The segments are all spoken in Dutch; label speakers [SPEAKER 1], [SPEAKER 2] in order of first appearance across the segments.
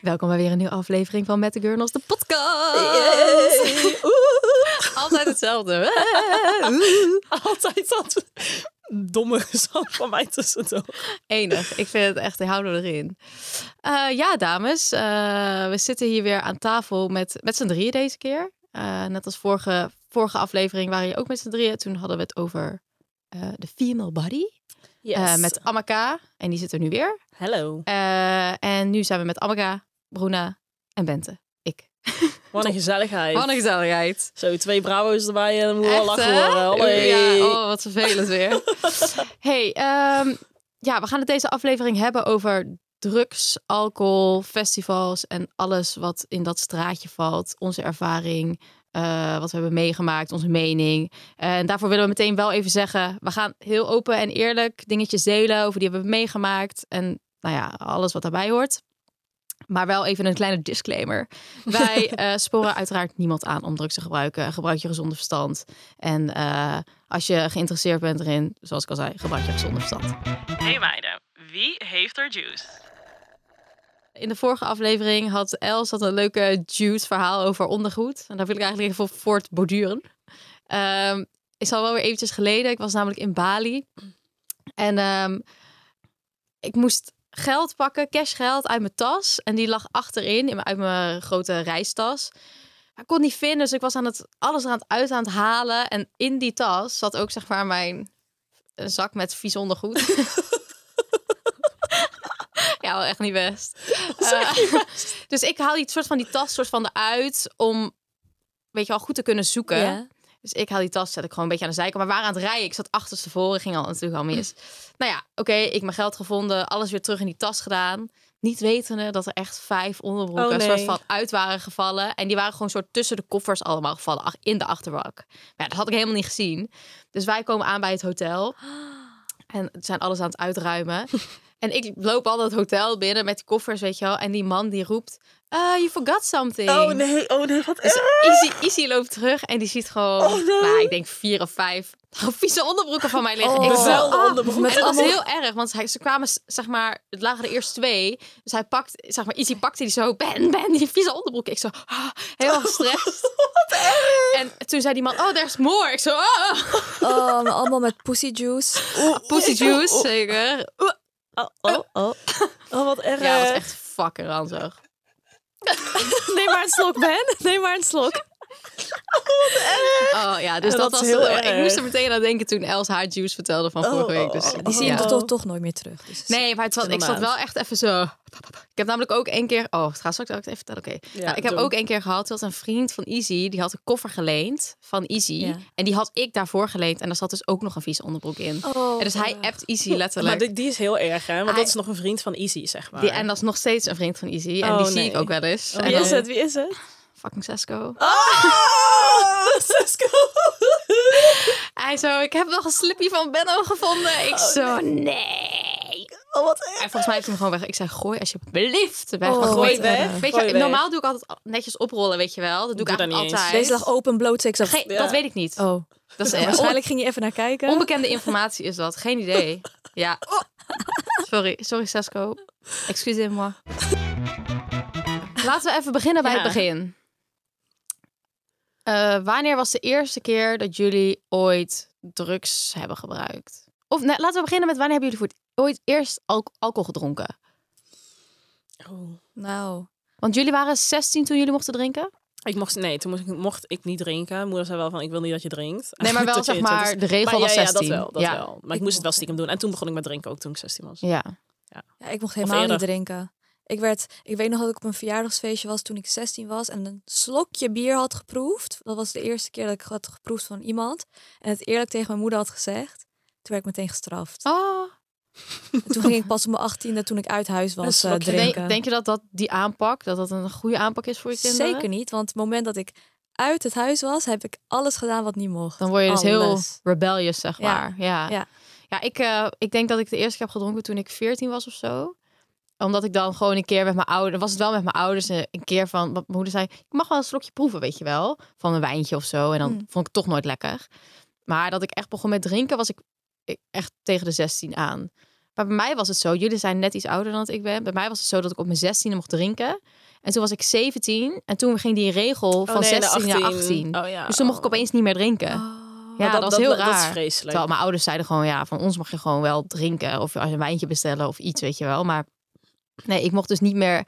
[SPEAKER 1] Welkom bij weer een nieuwe aflevering van Met de Gurnels, de podcast. Altijd hetzelfde.
[SPEAKER 2] Altijd dat domme gezang van mij tussendoor.
[SPEAKER 1] Enig. Ik vind het echt, houden we erin. Eh, ja, dames. eh, we zitten hier weer aan tafel met, met z'n drieën deze keer. Eh, net als vorige, vorige aflevering waren je ook met z'n drieën. Toen hadden we het over eh, de female body. Eh, met Amaka. En die zit er nu weer.
[SPEAKER 2] Hello.
[SPEAKER 1] Eh, en nu zijn we met Amaka, Bruna en Bente. Ik.
[SPEAKER 2] Wat een gezelligheid.
[SPEAKER 1] Wat een gezelligheid.
[SPEAKER 2] Zo, twee bravo's erbij en dan moeten we al
[SPEAKER 1] Echt,
[SPEAKER 2] lachen
[SPEAKER 1] hè?
[SPEAKER 2] horen. Allee.
[SPEAKER 1] Ja, oh, wat vervelend weer. hey, ehm, ja, we gaan het deze aflevering hebben over drugs, alcohol, festivals en alles wat in dat straatje valt. Onze ervaring, eh, wat we hebben meegemaakt, onze mening. en daarvoor willen we meteen wel even zeggen, we gaan heel open en eerlijk dingetjes delen over die hebben we meegemaakt. En nou ja, alles wat daarbij hoort. Maar wel even een kleine disclaimer. Wij eh, sporen uiteraard niemand aan om drugs te gebruiken. Gebruik je gezonde verstand. En eh, als je geïnteresseerd bent erin, zoals ik al zei, gebruik je gezonde verstand.
[SPEAKER 2] Hey meiden, wie heeft er juice?
[SPEAKER 1] In de vorige aflevering had Els had een leuke juice verhaal over ondergoed. En daar wil ik eigenlijk even op voortborduren. Ehm is al wel weer eventjes geleden. Ik was namelijk in Bali. En ehm, ik moest geld pakken, cashgeld uit mijn tas. En die lag achterin, in mijn, uit mijn grote reistas. Maar ik kon het niet vinden, dus ik was aan het, alles eraan het uit aan het halen. En in die tas zat ook zeg maar mijn een zak met vies ondergoed. ja, wel echt niet best. Eh, dus ik haal die soort van die tas soort van eruit om, weet je wel, goed te kunnen zoeken. Dus ik haal die tas, zet ik gewoon een beetje aan de zijkant. Maar we waren aan het rijden. Ik zat achterstevoren, ging al natuurlijk al mis. Nou ja, oké, ik mijn geld gevonden, alles weer terug in die tas gedaan. Niet wetende dat er echt vijf onderbroeken
[SPEAKER 2] Oh, nee.
[SPEAKER 1] soort van uit waren gevallen. En die waren gewoon soort tussen de koffers allemaal gevallen, ach, in de achterbak. Maar ja, dat had ik helemaal niet gezien. Dus wij komen aan bij het hotel. En het zijn alles aan het uitruimen. En ik loop al dat hotel binnen met die koffers, weet je wel. En die man die roept, "Ah, you forgot something.
[SPEAKER 2] Oh nee, oh nee, wat
[SPEAKER 1] Dus
[SPEAKER 2] erg.
[SPEAKER 1] Izzy, Izzy loopt terug en die ziet gewoon,
[SPEAKER 2] Oh, nee.
[SPEAKER 1] nou, ik denk vier of vijf vieze onderbroeken van mij liggen.
[SPEAKER 2] Oh.
[SPEAKER 1] ik
[SPEAKER 2] Dezelfde
[SPEAKER 1] ah,
[SPEAKER 2] onderbroeken.
[SPEAKER 1] En dat was heel erg, want hij, ze kwamen, s- zeg maar, het lagen er eerst twee. Dus hij pakt, zeg maar, Izzy pakte die zo, Ben, Ben, die vieze onderbroeken. Ik zo, ah, heel gestrest. En toen zei die man, oh, there's more. Ik zo, oh,
[SPEAKER 3] Oh, maar allemaal met pussy juice.
[SPEAKER 1] pussy juice, zeker. Oeh.
[SPEAKER 2] Oh, oh, oh. Oh, wat erg.
[SPEAKER 1] Ja, dat was echt fucking ranzig.
[SPEAKER 3] Neem maar een slok, Ben. Neem maar een slok.
[SPEAKER 1] Oh ja, dus
[SPEAKER 2] Ja,
[SPEAKER 1] dat,
[SPEAKER 2] dat
[SPEAKER 1] was
[SPEAKER 2] is heel
[SPEAKER 1] Ik moest er
[SPEAKER 2] erg.
[SPEAKER 1] meteen aan denken toen Els haar juice vertelde van
[SPEAKER 2] Oh,
[SPEAKER 1] vorige week.
[SPEAKER 2] oh,
[SPEAKER 1] Dus,
[SPEAKER 2] oh,
[SPEAKER 3] Die zie
[SPEAKER 1] ja.
[SPEAKER 3] je toch, toch nooit meer terug. Dus
[SPEAKER 1] Nee, maar het was, ik zat
[SPEAKER 2] Inderdaad.
[SPEAKER 1] wel echt even zo. Ik heb namelijk ook één keer. Oh, het gaat straks ook even vertellen. Oké.
[SPEAKER 2] Ja,
[SPEAKER 1] Nou, ik heb
[SPEAKER 2] doe.
[SPEAKER 1] ook één keer gehad dat een vriend van Izzy. die had een koffer geleend van Izzy.
[SPEAKER 3] Ja.
[SPEAKER 1] En die had ik daarvoor geleend. En daar zat dus ook nog een vies onderbroek in.
[SPEAKER 3] Oh,
[SPEAKER 1] en dus hij appt Izzy
[SPEAKER 2] Maar
[SPEAKER 1] letterlijk.
[SPEAKER 2] die, die is heel erg, hè? Want
[SPEAKER 1] Hij-
[SPEAKER 2] dat is nog een vriend van Izzy, zeg maar.
[SPEAKER 1] Die, en dat is nog steeds een vriend van Izzy. En
[SPEAKER 2] Oh,
[SPEAKER 1] die zie
[SPEAKER 2] nee. Oh,
[SPEAKER 1] ik ook wel eens. En
[SPEAKER 2] Wie is
[SPEAKER 1] dan-
[SPEAKER 2] het? Wie is het?
[SPEAKER 1] Fucking Sesko.
[SPEAKER 2] Oh, Cisco.
[SPEAKER 1] Hij zo, ik heb nog een slipje van Benno gevonden. Ik zo, nee.
[SPEAKER 2] Oh, wat erg.
[SPEAKER 1] En volgens mij heeft hij hem gewoon weg. Ik zei, gooi alsjeblieft weg.
[SPEAKER 3] Oh,
[SPEAKER 1] Maar goed,
[SPEAKER 3] gooi
[SPEAKER 1] eh,
[SPEAKER 2] weg,
[SPEAKER 1] Weet
[SPEAKER 2] gooi
[SPEAKER 1] je,
[SPEAKER 2] weg.
[SPEAKER 1] normaal doe ik altijd al- netjes oprollen, weet je wel. Dat doe,
[SPEAKER 2] Doe
[SPEAKER 1] ik
[SPEAKER 2] dat
[SPEAKER 1] eigenlijk
[SPEAKER 2] niet eens.
[SPEAKER 1] altijd.
[SPEAKER 3] Deze lag open, bloot, seks af.
[SPEAKER 1] Geen-
[SPEAKER 2] Ja.
[SPEAKER 1] Dat weet ik niet.
[SPEAKER 3] Oh,
[SPEAKER 1] Dat is
[SPEAKER 3] waarschijnlijk ging je even naar kijken.
[SPEAKER 1] Onbekende informatie is dat. Geen idee. Ja.
[SPEAKER 2] Oh.
[SPEAKER 1] Sorry, sorry Sesco. Excusez-moi. Laten we even beginnen bij
[SPEAKER 3] Ja.
[SPEAKER 1] het begin. Eh, wanneer was de eerste keer dat jullie ooit drugs hebben gebruikt? Of nee, laten we beginnen met wanneer hebben jullie voor het ooit eerst al- alcohol gedronken?
[SPEAKER 2] Oh.
[SPEAKER 3] Nou,
[SPEAKER 1] Want jullie waren 16 toen jullie mochten drinken?
[SPEAKER 2] Ik mocht, nee, toen mocht ik, mocht ik niet drinken. Mijn Moeder zei wel van, ik wil niet dat je drinkt.
[SPEAKER 1] Nee, maar wel
[SPEAKER 2] Tot je
[SPEAKER 1] zeg
[SPEAKER 2] 21
[SPEAKER 1] maar, de regel
[SPEAKER 2] Maar
[SPEAKER 1] was
[SPEAKER 2] ja, ja,
[SPEAKER 1] 16.
[SPEAKER 2] dat wel, dat
[SPEAKER 1] ja.
[SPEAKER 2] wel. Maar ik, moest het wel stiekem doen. En toen begon ik met drinken ook toen ik 16 was.
[SPEAKER 1] Ja.
[SPEAKER 3] ja, ik mocht helemaal niet
[SPEAKER 2] eerder.
[SPEAKER 3] drinken. Ik, werd, ik weet nog dat ik op een verjaardagsfeestje was toen ik 16 was en een slokje bier had geproefd. Dat was de eerste keer dat ik had geproefd van iemand. En het eerlijk tegen mijn moeder had gezegd. Toen werd ik meteen gestraft.
[SPEAKER 1] Oh,
[SPEAKER 3] En toen ging ik pas op mijn 18e, toen ik uit huis
[SPEAKER 2] Een
[SPEAKER 3] was, eh,
[SPEAKER 2] slokje.
[SPEAKER 3] drinken.
[SPEAKER 1] Denk, denk je dat, dat die aanpak, dat dat een goede aanpak is voor je kinderen?
[SPEAKER 3] Zeker niet, want het moment dat ik uit het huis was, heb ik alles gedaan wat niet mocht.
[SPEAKER 1] Dan word je dus
[SPEAKER 3] Alles.
[SPEAKER 1] heel rebellious, zeg
[SPEAKER 3] Ja,
[SPEAKER 1] maar. Ja,
[SPEAKER 3] ja.
[SPEAKER 1] Ja, ik, eh, ik denk dat ik de eerste keer heb gedronken toen ik 14 was of zo. Omdat ik dan gewoon een keer met mijn ouders... Was het wel met mijn ouders eh, een keer van... Wat mijn moeder zei, ik mag wel een slokje proeven, weet je wel. Van een wijntje of zo. En dan
[SPEAKER 3] Mm.
[SPEAKER 1] vond ik het toch nooit lekker. Maar dat ik echt begon met drinken, was ik, ik echt tegen de 16 aan. Maar bij mij was het zo, jullie zijn net iets ouder dan dat ik ben. Bij mij was het zo dat ik op mijn 16e mocht drinken. En toen was ik 17. En toen ging die regel van 16 naar 18.
[SPEAKER 2] Oh ja.
[SPEAKER 1] Dus toen mocht ik opeens niet meer drinken.
[SPEAKER 3] Oh.
[SPEAKER 1] ja,
[SPEAKER 2] Maar
[SPEAKER 1] dat, was heel raar.
[SPEAKER 2] Dat is vreselijk.
[SPEAKER 1] Terwijl mijn ouders zeiden gewoon, ja, van ons mag je gewoon wel drinken. Of als je een wijntje bestellen of iets, weet je wel. Maar nee, ik mocht dus niet meer,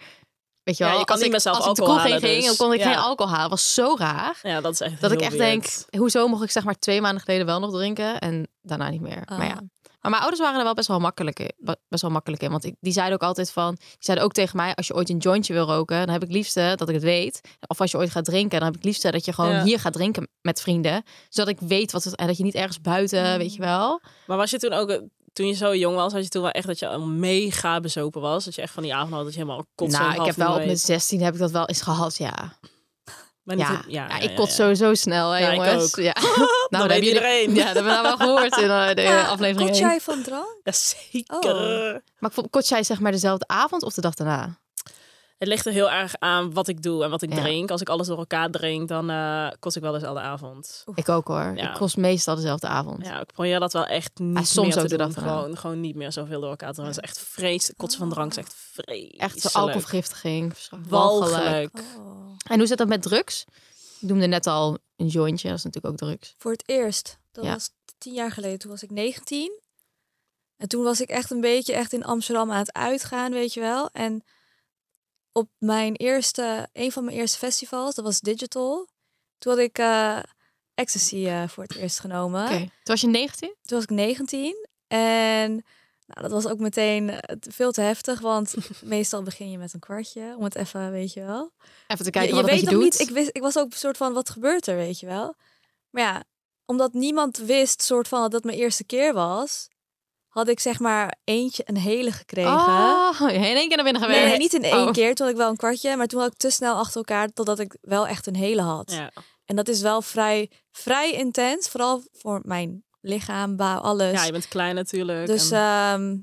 [SPEAKER 1] weet je
[SPEAKER 2] Ja,
[SPEAKER 1] wel.
[SPEAKER 2] je kan
[SPEAKER 1] als
[SPEAKER 2] niet
[SPEAKER 1] ik,
[SPEAKER 2] meer zelf
[SPEAKER 1] als ik de
[SPEAKER 2] alcohol
[SPEAKER 1] kroeg in
[SPEAKER 2] halen,
[SPEAKER 1] ging,
[SPEAKER 2] dus.
[SPEAKER 1] dan kon ik
[SPEAKER 2] Ja.
[SPEAKER 1] geen alcohol halen. was zo raar.
[SPEAKER 2] ja, dat is echt
[SPEAKER 1] Dat ik
[SPEAKER 2] heel
[SPEAKER 1] echt
[SPEAKER 2] weird.
[SPEAKER 1] denk, hoezo mocht ik zeg maar twee maanden geleden wel nog drinken en daarna niet meer. Maar
[SPEAKER 2] Ah.
[SPEAKER 1] ja. Maar mijn ouders waren er wel best wel makkelijk in. be- Best wel makkelijk in. Want ik, die zeiden ook altijd van... Die zeiden ook tegen mij, als je ooit een jointje wil roken... dan heb ik liefste dat ik het weet. Of als je ooit gaat drinken, dan heb ik liefste dat je gewoon
[SPEAKER 2] Ja.
[SPEAKER 1] hier gaat drinken met vrienden. Zodat ik weet wat het... En dat je niet ergens
[SPEAKER 2] Hmm.
[SPEAKER 1] buiten, weet je wel.
[SPEAKER 2] Maar was je toen ook... eh, Toen je zo jong was, had je toen wel echt dat je al mega bezopen was? Dat je echt van die avond had dat je helemaal kotsen en
[SPEAKER 1] nou, ik
[SPEAKER 2] half
[SPEAKER 1] heb wel
[SPEAKER 2] niet
[SPEAKER 1] op mijn
[SPEAKER 2] weet.
[SPEAKER 1] 16 heb ik dat wel eens gehad, ja.
[SPEAKER 2] Maar niet
[SPEAKER 1] Ja,
[SPEAKER 2] heel-
[SPEAKER 1] ja,
[SPEAKER 2] ja,
[SPEAKER 1] ik
[SPEAKER 2] ja,
[SPEAKER 1] kot
[SPEAKER 2] ja.
[SPEAKER 1] sowieso snel, hè,
[SPEAKER 2] Ja, ik
[SPEAKER 1] jongens.
[SPEAKER 2] ook.
[SPEAKER 1] Ja. nou, dat
[SPEAKER 2] weet
[SPEAKER 1] jullie-
[SPEAKER 2] iedereen.
[SPEAKER 1] Ja, dat hebben we nou wel gehoord in eh, de
[SPEAKER 3] Ja,
[SPEAKER 1] aflevering
[SPEAKER 3] Kot
[SPEAKER 1] één.
[SPEAKER 3] jij van drank?
[SPEAKER 2] Ja, zeker.
[SPEAKER 3] Oh.
[SPEAKER 1] Maar ik vond- kot jij zeg maar dezelfde avond of de dag daarna?
[SPEAKER 2] Het ligt er heel erg aan wat ik doe en wat ik
[SPEAKER 1] Ja.
[SPEAKER 2] drink. Als ik alles door elkaar drink, dan eh kot ik wel eens alle avond.
[SPEAKER 1] Ik ook hoor.
[SPEAKER 2] Ja.
[SPEAKER 1] Ik kost meestal dezelfde avond.
[SPEAKER 2] Ja, ik probeer dat wel echt niet
[SPEAKER 1] Ah, soms
[SPEAKER 2] meer
[SPEAKER 1] ook
[SPEAKER 2] te
[SPEAKER 1] de
[SPEAKER 2] doen.
[SPEAKER 1] dag erna.
[SPEAKER 2] gewoon, gewoon niet meer zoveel door elkaar te doen. Dat is echt vrees. Kotsen van drank is echt vreselijk.
[SPEAKER 1] Echt zo'n alcoholvergiftiging. Walgelijk.
[SPEAKER 2] Walgelijk.
[SPEAKER 3] Oh.
[SPEAKER 1] En hoe zit dat met drugs? Ik noemde net al een jointje. Dat is natuurlijk ook drugs.
[SPEAKER 3] Voor het eerst. Dat
[SPEAKER 1] Ja.
[SPEAKER 3] was tien jaar geleden. Toen was ik 19. En toen was ik echt een beetje echt in Amsterdam aan het uitgaan, weet je wel. En op mijn eerste, een van mijn eerste festivals, dat was Digital. Toen had ik eh, Ecstasy eh, voor het eerst genomen.
[SPEAKER 1] Oké. Toen was je 19?
[SPEAKER 3] Toen was ik 19. En nou, dat was ook meteen eh, te- veel te heftig. Want meestal begin je met een kwartje. Om het even, weet je wel.
[SPEAKER 1] Even te kijken
[SPEAKER 3] je,
[SPEAKER 1] wat
[SPEAKER 3] je
[SPEAKER 1] het
[SPEAKER 3] weet
[SPEAKER 1] met
[SPEAKER 3] nog
[SPEAKER 1] je doet.
[SPEAKER 3] niet. Ik, wist, ik was ook een soort van, wat gebeurt er, weet je wel? Maar ja, omdat niemand wist, soort van, dat dat mijn eerste keer was, had ik zeg maar eentje een hele gekregen.
[SPEAKER 1] Oh, in één keer naar binnen
[SPEAKER 3] Nee,
[SPEAKER 1] gewerkt.
[SPEAKER 3] nee, niet in één
[SPEAKER 1] Oh.
[SPEAKER 3] keer. Toen had ik wel een kwartje, maar toen had ik te snel achter elkaar totdat ik wel echt een hele had.
[SPEAKER 2] Ja.
[SPEAKER 3] En dat is wel vrij, vrij intens, vooral voor mijn lichaam, bouw, alles.
[SPEAKER 1] Dus-
[SPEAKER 2] ja, je bent klein natuurlijk.
[SPEAKER 3] dus
[SPEAKER 2] en-
[SPEAKER 3] ehm,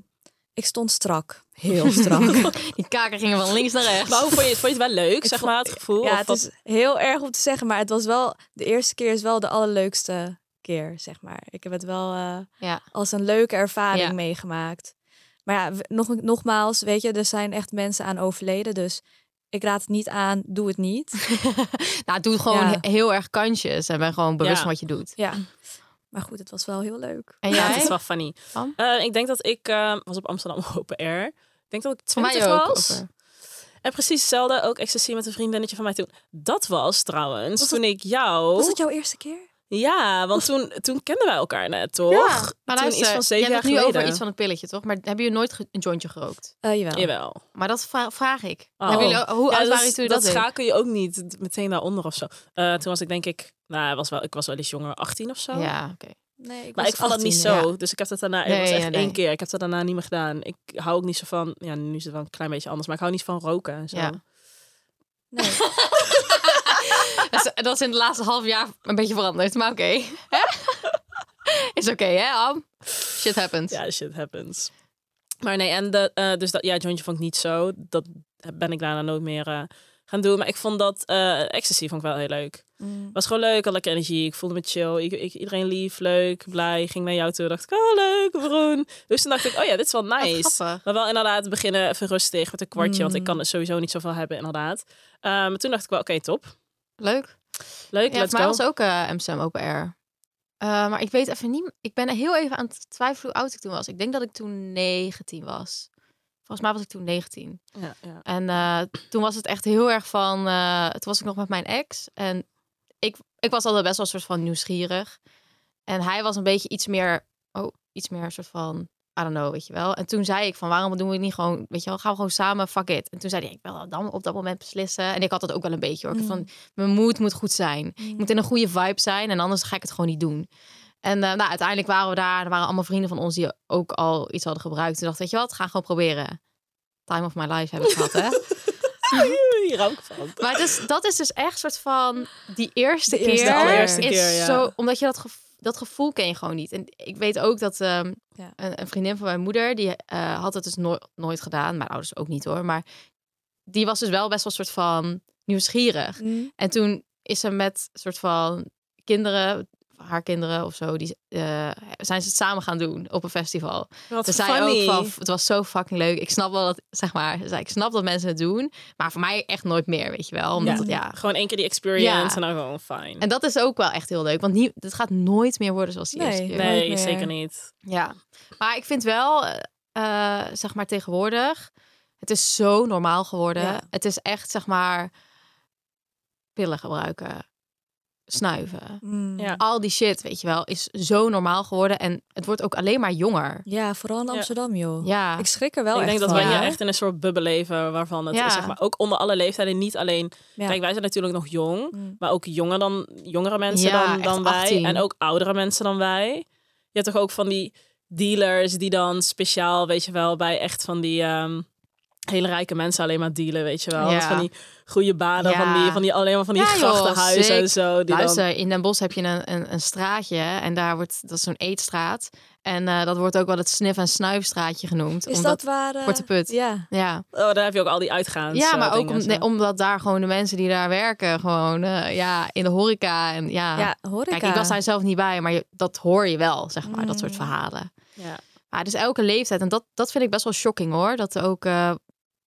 [SPEAKER 3] ik stond strak, heel strak.
[SPEAKER 1] Die kaken gingen van links naar rechts.
[SPEAKER 2] Maar hoe vond je, het, vond je het wel leuk,
[SPEAKER 3] Ik
[SPEAKER 2] zeg
[SPEAKER 3] vond-
[SPEAKER 2] maar, het gevoel?
[SPEAKER 3] Ja,
[SPEAKER 2] Of
[SPEAKER 3] het
[SPEAKER 2] wat-
[SPEAKER 3] is heel erg om te zeggen, maar het was wel de eerste keer is wel de allerleukste keer, zeg maar. Ik heb het wel eh,
[SPEAKER 1] Ja.
[SPEAKER 3] als een leuke ervaring
[SPEAKER 1] Ja.
[SPEAKER 3] meegemaakt. Maar ja, w- nog, nogmaals, weet je, er zijn echt mensen aan overleden, dus ik raad het niet aan, doe het niet.
[SPEAKER 1] Nou, doe gewoon
[SPEAKER 3] Ja.
[SPEAKER 1] he- heel erg kantjes. En ben gewoon bewust
[SPEAKER 2] Ja.
[SPEAKER 1] van wat je doet.
[SPEAKER 3] Ja, maar goed, het was wel heel leuk.
[SPEAKER 1] En
[SPEAKER 2] Ja, dat
[SPEAKER 1] jij?
[SPEAKER 2] is wel funny.
[SPEAKER 1] Van?
[SPEAKER 2] Eh, ik denk dat ik eh, was op Amsterdam Open Air. Ik denk dat ik
[SPEAKER 1] Voor mij
[SPEAKER 2] 20
[SPEAKER 1] ook,
[SPEAKER 2] was.
[SPEAKER 1] over.
[SPEAKER 2] En precies hetzelfde, ook ecstasy met een vriendinnetje van mij toen. Dat was trouwens
[SPEAKER 3] Was dat-
[SPEAKER 2] toen ik jou...
[SPEAKER 3] Was dat jouw eerste keer?
[SPEAKER 2] Ja, want toen, toen kenden wij elkaar net, toch?
[SPEAKER 1] Maar
[SPEAKER 2] toen
[SPEAKER 1] luister,
[SPEAKER 2] iets van zeven
[SPEAKER 1] jij
[SPEAKER 2] jaar
[SPEAKER 1] hebt het nu
[SPEAKER 2] geleden.
[SPEAKER 1] over iets van een pilletje, toch? Maar hebben jullie nooit ge- een jointje gerookt?
[SPEAKER 3] Eh jawel.
[SPEAKER 2] Jawel.
[SPEAKER 1] Maar dat vra- vraag ik.
[SPEAKER 2] Oh.
[SPEAKER 1] Hebben jullie, hoe
[SPEAKER 2] Ja,
[SPEAKER 1] oud
[SPEAKER 2] dat,
[SPEAKER 1] waren jullie toen je dat
[SPEAKER 2] dat
[SPEAKER 1] deed?
[SPEAKER 2] schakel je ook niet meteen daaronder of zo. Eh, toen was ik denk ik... Nou, was wel, ik was wel eens jonger, 18 of zo.
[SPEAKER 1] Ja, oké.
[SPEAKER 3] Nee, ik
[SPEAKER 2] Maar
[SPEAKER 3] was
[SPEAKER 2] ik vond dat niet
[SPEAKER 3] 18e.
[SPEAKER 2] zo. Dus ik heb dat daarna...
[SPEAKER 1] Nee,
[SPEAKER 2] het was echt
[SPEAKER 1] ja, nee.
[SPEAKER 2] één keer. Ik heb dat daarna niet meer gedaan. Ik hou ook niet zo van... Ja, nu is het wel een klein beetje anders. Maar ik hou niet van roken en zo.
[SPEAKER 1] Ja.
[SPEAKER 3] Nee.
[SPEAKER 1] Dat is, dat is in het laatste half jaar een beetje veranderd, maar oké. Hè? is oké, hè, Am? Shit happens.
[SPEAKER 2] Ja, shit dus happens. Maar nee, en de, eh, dus dat, ja, jointje vond ik niet zo. Dat ben ik daarna nooit meer eh, gaan doen. Maar ik vond dat eh ecstasy vond ik wel heel leuk.
[SPEAKER 3] Mm.
[SPEAKER 2] was gewoon leuk, had lekker energie. Ik voelde me chill. Ik, ik- iedereen lief, leuk, blij. Ging naar jou toe. Dacht ik, oh leuk, Broen. Dus toen dacht ik, oh ja, dit is wel nice.
[SPEAKER 1] grappig.
[SPEAKER 2] Maar wel inderdaad beginnen even rustig met een kwartje. Want ik
[SPEAKER 3] Mm.
[SPEAKER 2] kan er sowieso niet zoveel hebben, inderdaad. Eh, maar toen dacht ik wel, oké, top.
[SPEAKER 1] Leuk.
[SPEAKER 2] Leuk,
[SPEAKER 1] ja,
[SPEAKER 2] let's
[SPEAKER 1] voor mij
[SPEAKER 2] go.
[SPEAKER 1] was ook eh MSM Open Air. Eh, maar ik weet even niet... Ik ben heel even aan het twijfelen hoe oud ik toen was. Ik denk dat ik toen 19 was. Volgens mij was ik toen 19.
[SPEAKER 2] Ja, ja.
[SPEAKER 1] En eh, toen was het echt heel erg van. eh, toen was ik nog met mijn ex. En ik, ik was altijd best wel een soort van nieuwsgierig. En hij was een beetje iets meer. Oh, iets meer een soort van. I don't know, weet je wel. En toen zei ik van waarom doen we het niet gewoon, weet je wel, gaan we gewoon samen, fuck it. En toen zei hij, ik wil dan op dat moment beslissen. En ik had dat ook wel een beetje hoor. Ik had
[SPEAKER 3] Mm.
[SPEAKER 1] Van, mijn moed moet goed zijn. Ik moet in een goede vibe zijn en anders ga ik het gewoon niet doen. En eh, nou, uiteindelijk waren we daar. Er waren allemaal vrienden van ons die ook al iets hadden gebruikt. Toen dacht ik, weet je wat, gaan we gewoon proberen. Time of my life heb ik gehad, hè?
[SPEAKER 2] Hier ook van.
[SPEAKER 1] Maar dus, dat is dus echt soort van die eerste,
[SPEAKER 3] De eerste,
[SPEAKER 1] keer.
[SPEAKER 3] allereerste
[SPEAKER 1] is
[SPEAKER 2] keer, ja.
[SPEAKER 1] zo, omdat je dat, gev- dat gevoel ken je gewoon niet. En ik weet ook dat ehm,
[SPEAKER 3] Ja.
[SPEAKER 1] een, een vriendin van mijn moeder, die eh, had het dus no- nooit gedaan. Mijn ouders ook niet hoor. Maar die was dus wel best wel soort van nieuwsgierig.
[SPEAKER 3] Mm.
[SPEAKER 1] En toen is ze met soort van kinderen, haar kinderen of zo, die, eh, zijn ze het samen gaan doen op een festival.
[SPEAKER 2] Wat
[SPEAKER 1] Ze zei ook van, "F- het was zo fucking leuk. Ik snap wel dat, zeg maar, ze zei, ik snap dat mensen het doen. Maar voor mij echt nooit meer, weet je wel. Omdat
[SPEAKER 2] Ja.
[SPEAKER 1] het- ja.
[SPEAKER 2] Gewoon één keer die experience
[SPEAKER 1] Ja.
[SPEAKER 2] en dan gewoon fijn.
[SPEAKER 1] En dat is ook wel echt heel leuk. Want nie, het gaat nooit meer worden zoals die
[SPEAKER 3] Nee.
[SPEAKER 1] eerste keer.
[SPEAKER 3] nooit
[SPEAKER 2] nee,
[SPEAKER 3] meer.
[SPEAKER 2] zeker niet.
[SPEAKER 1] Ja. Maar ik vind wel, eh, eh, zeg maar tegenwoordig, het is zo normaal geworden.
[SPEAKER 3] Ja.
[SPEAKER 1] Het is echt, zeg maar, pillen gebruiken, snuiven.
[SPEAKER 3] Mm.
[SPEAKER 2] Ja.
[SPEAKER 1] Al die shit, weet je wel, is zo normaal geworden. En het wordt ook alleen maar jonger.
[SPEAKER 3] Ja, vooral in
[SPEAKER 2] Ja.
[SPEAKER 3] Amsterdam, joh.
[SPEAKER 1] Ja.
[SPEAKER 3] Ik schrik er wel
[SPEAKER 2] ik denk
[SPEAKER 3] echt
[SPEAKER 2] dat
[SPEAKER 3] van.
[SPEAKER 2] wij
[SPEAKER 1] ja.
[SPEAKER 2] hier echt in een soort bubbel leven waarvan het
[SPEAKER 1] Ja.
[SPEAKER 2] is, zeg maar, ook onder alle leeftijden niet alleen.
[SPEAKER 3] Ja.
[SPEAKER 2] Kijk, wij zijn natuurlijk nog jong,
[SPEAKER 3] Mm.
[SPEAKER 2] maar ook jonger dan jongere mensen
[SPEAKER 1] Ja,
[SPEAKER 2] dan,
[SPEAKER 1] echt
[SPEAKER 2] dan wij
[SPEAKER 1] 18.
[SPEAKER 2] en ook oudere mensen dan wij. Je hebt toch ook van die dealers die dan speciaal, weet je wel, bij echt van die ehm, hele rijke mensen alleen maar dealen, weet je wel.
[SPEAKER 1] Ja.
[SPEAKER 2] Dus Van die goede banen,
[SPEAKER 1] Ja.
[SPEAKER 2] van die, van die alleen maar van die
[SPEAKER 1] Ja, joh,
[SPEAKER 2] grachtenhuizen en
[SPEAKER 1] sick.
[SPEAKER 2] zo. Die dan,
[SPEAKER 1] Luister, in Den Bosch heb je een, een, een straatje en daar wordt, dat is zo'n eetstraat. En eh, dat wordt ook wel het snif- en snuifstraatje genoemd.
[SPEAKER 3] Is
[SPEAKER 1] omdat,
[SPEAKER 3] dat waar... eh,
[SPEAKER 1] Korte put.
[SPEAKER 3] Ja.
[SPEAKER 1] Ja,
[SPEAKER 2] oh, daar heb je ook al die uitgaans.
[SPEAKER 1] ja
[SPEAKER 2] eh,
[SPEAKER 1] maar ook
[SPEAKER 2] dingen en
[SPEAKER 1] om-
[SPEAKER 2] zo.
[SPEAKER 1] nee, omdat daar gewoon de mensen die daar werken, gewoon eh, ja, in de horeca. En, ja.
[SPEAKER 3] ja, horeca.
[SPEAKER 1] Ah. Kijk, ik was daar zelf niet bij, maar je- dat hoor je wel, zeg maar, dat soort
[SPEAKER 3] Mm.
[SPEAKER 1] verhalen.
[SPEAKER 2] Ja.
[SPEAKER 1] Maar dus elke leeftijd, en dat, dat vind ik best wel shocking hoor. Dat er ook, eh,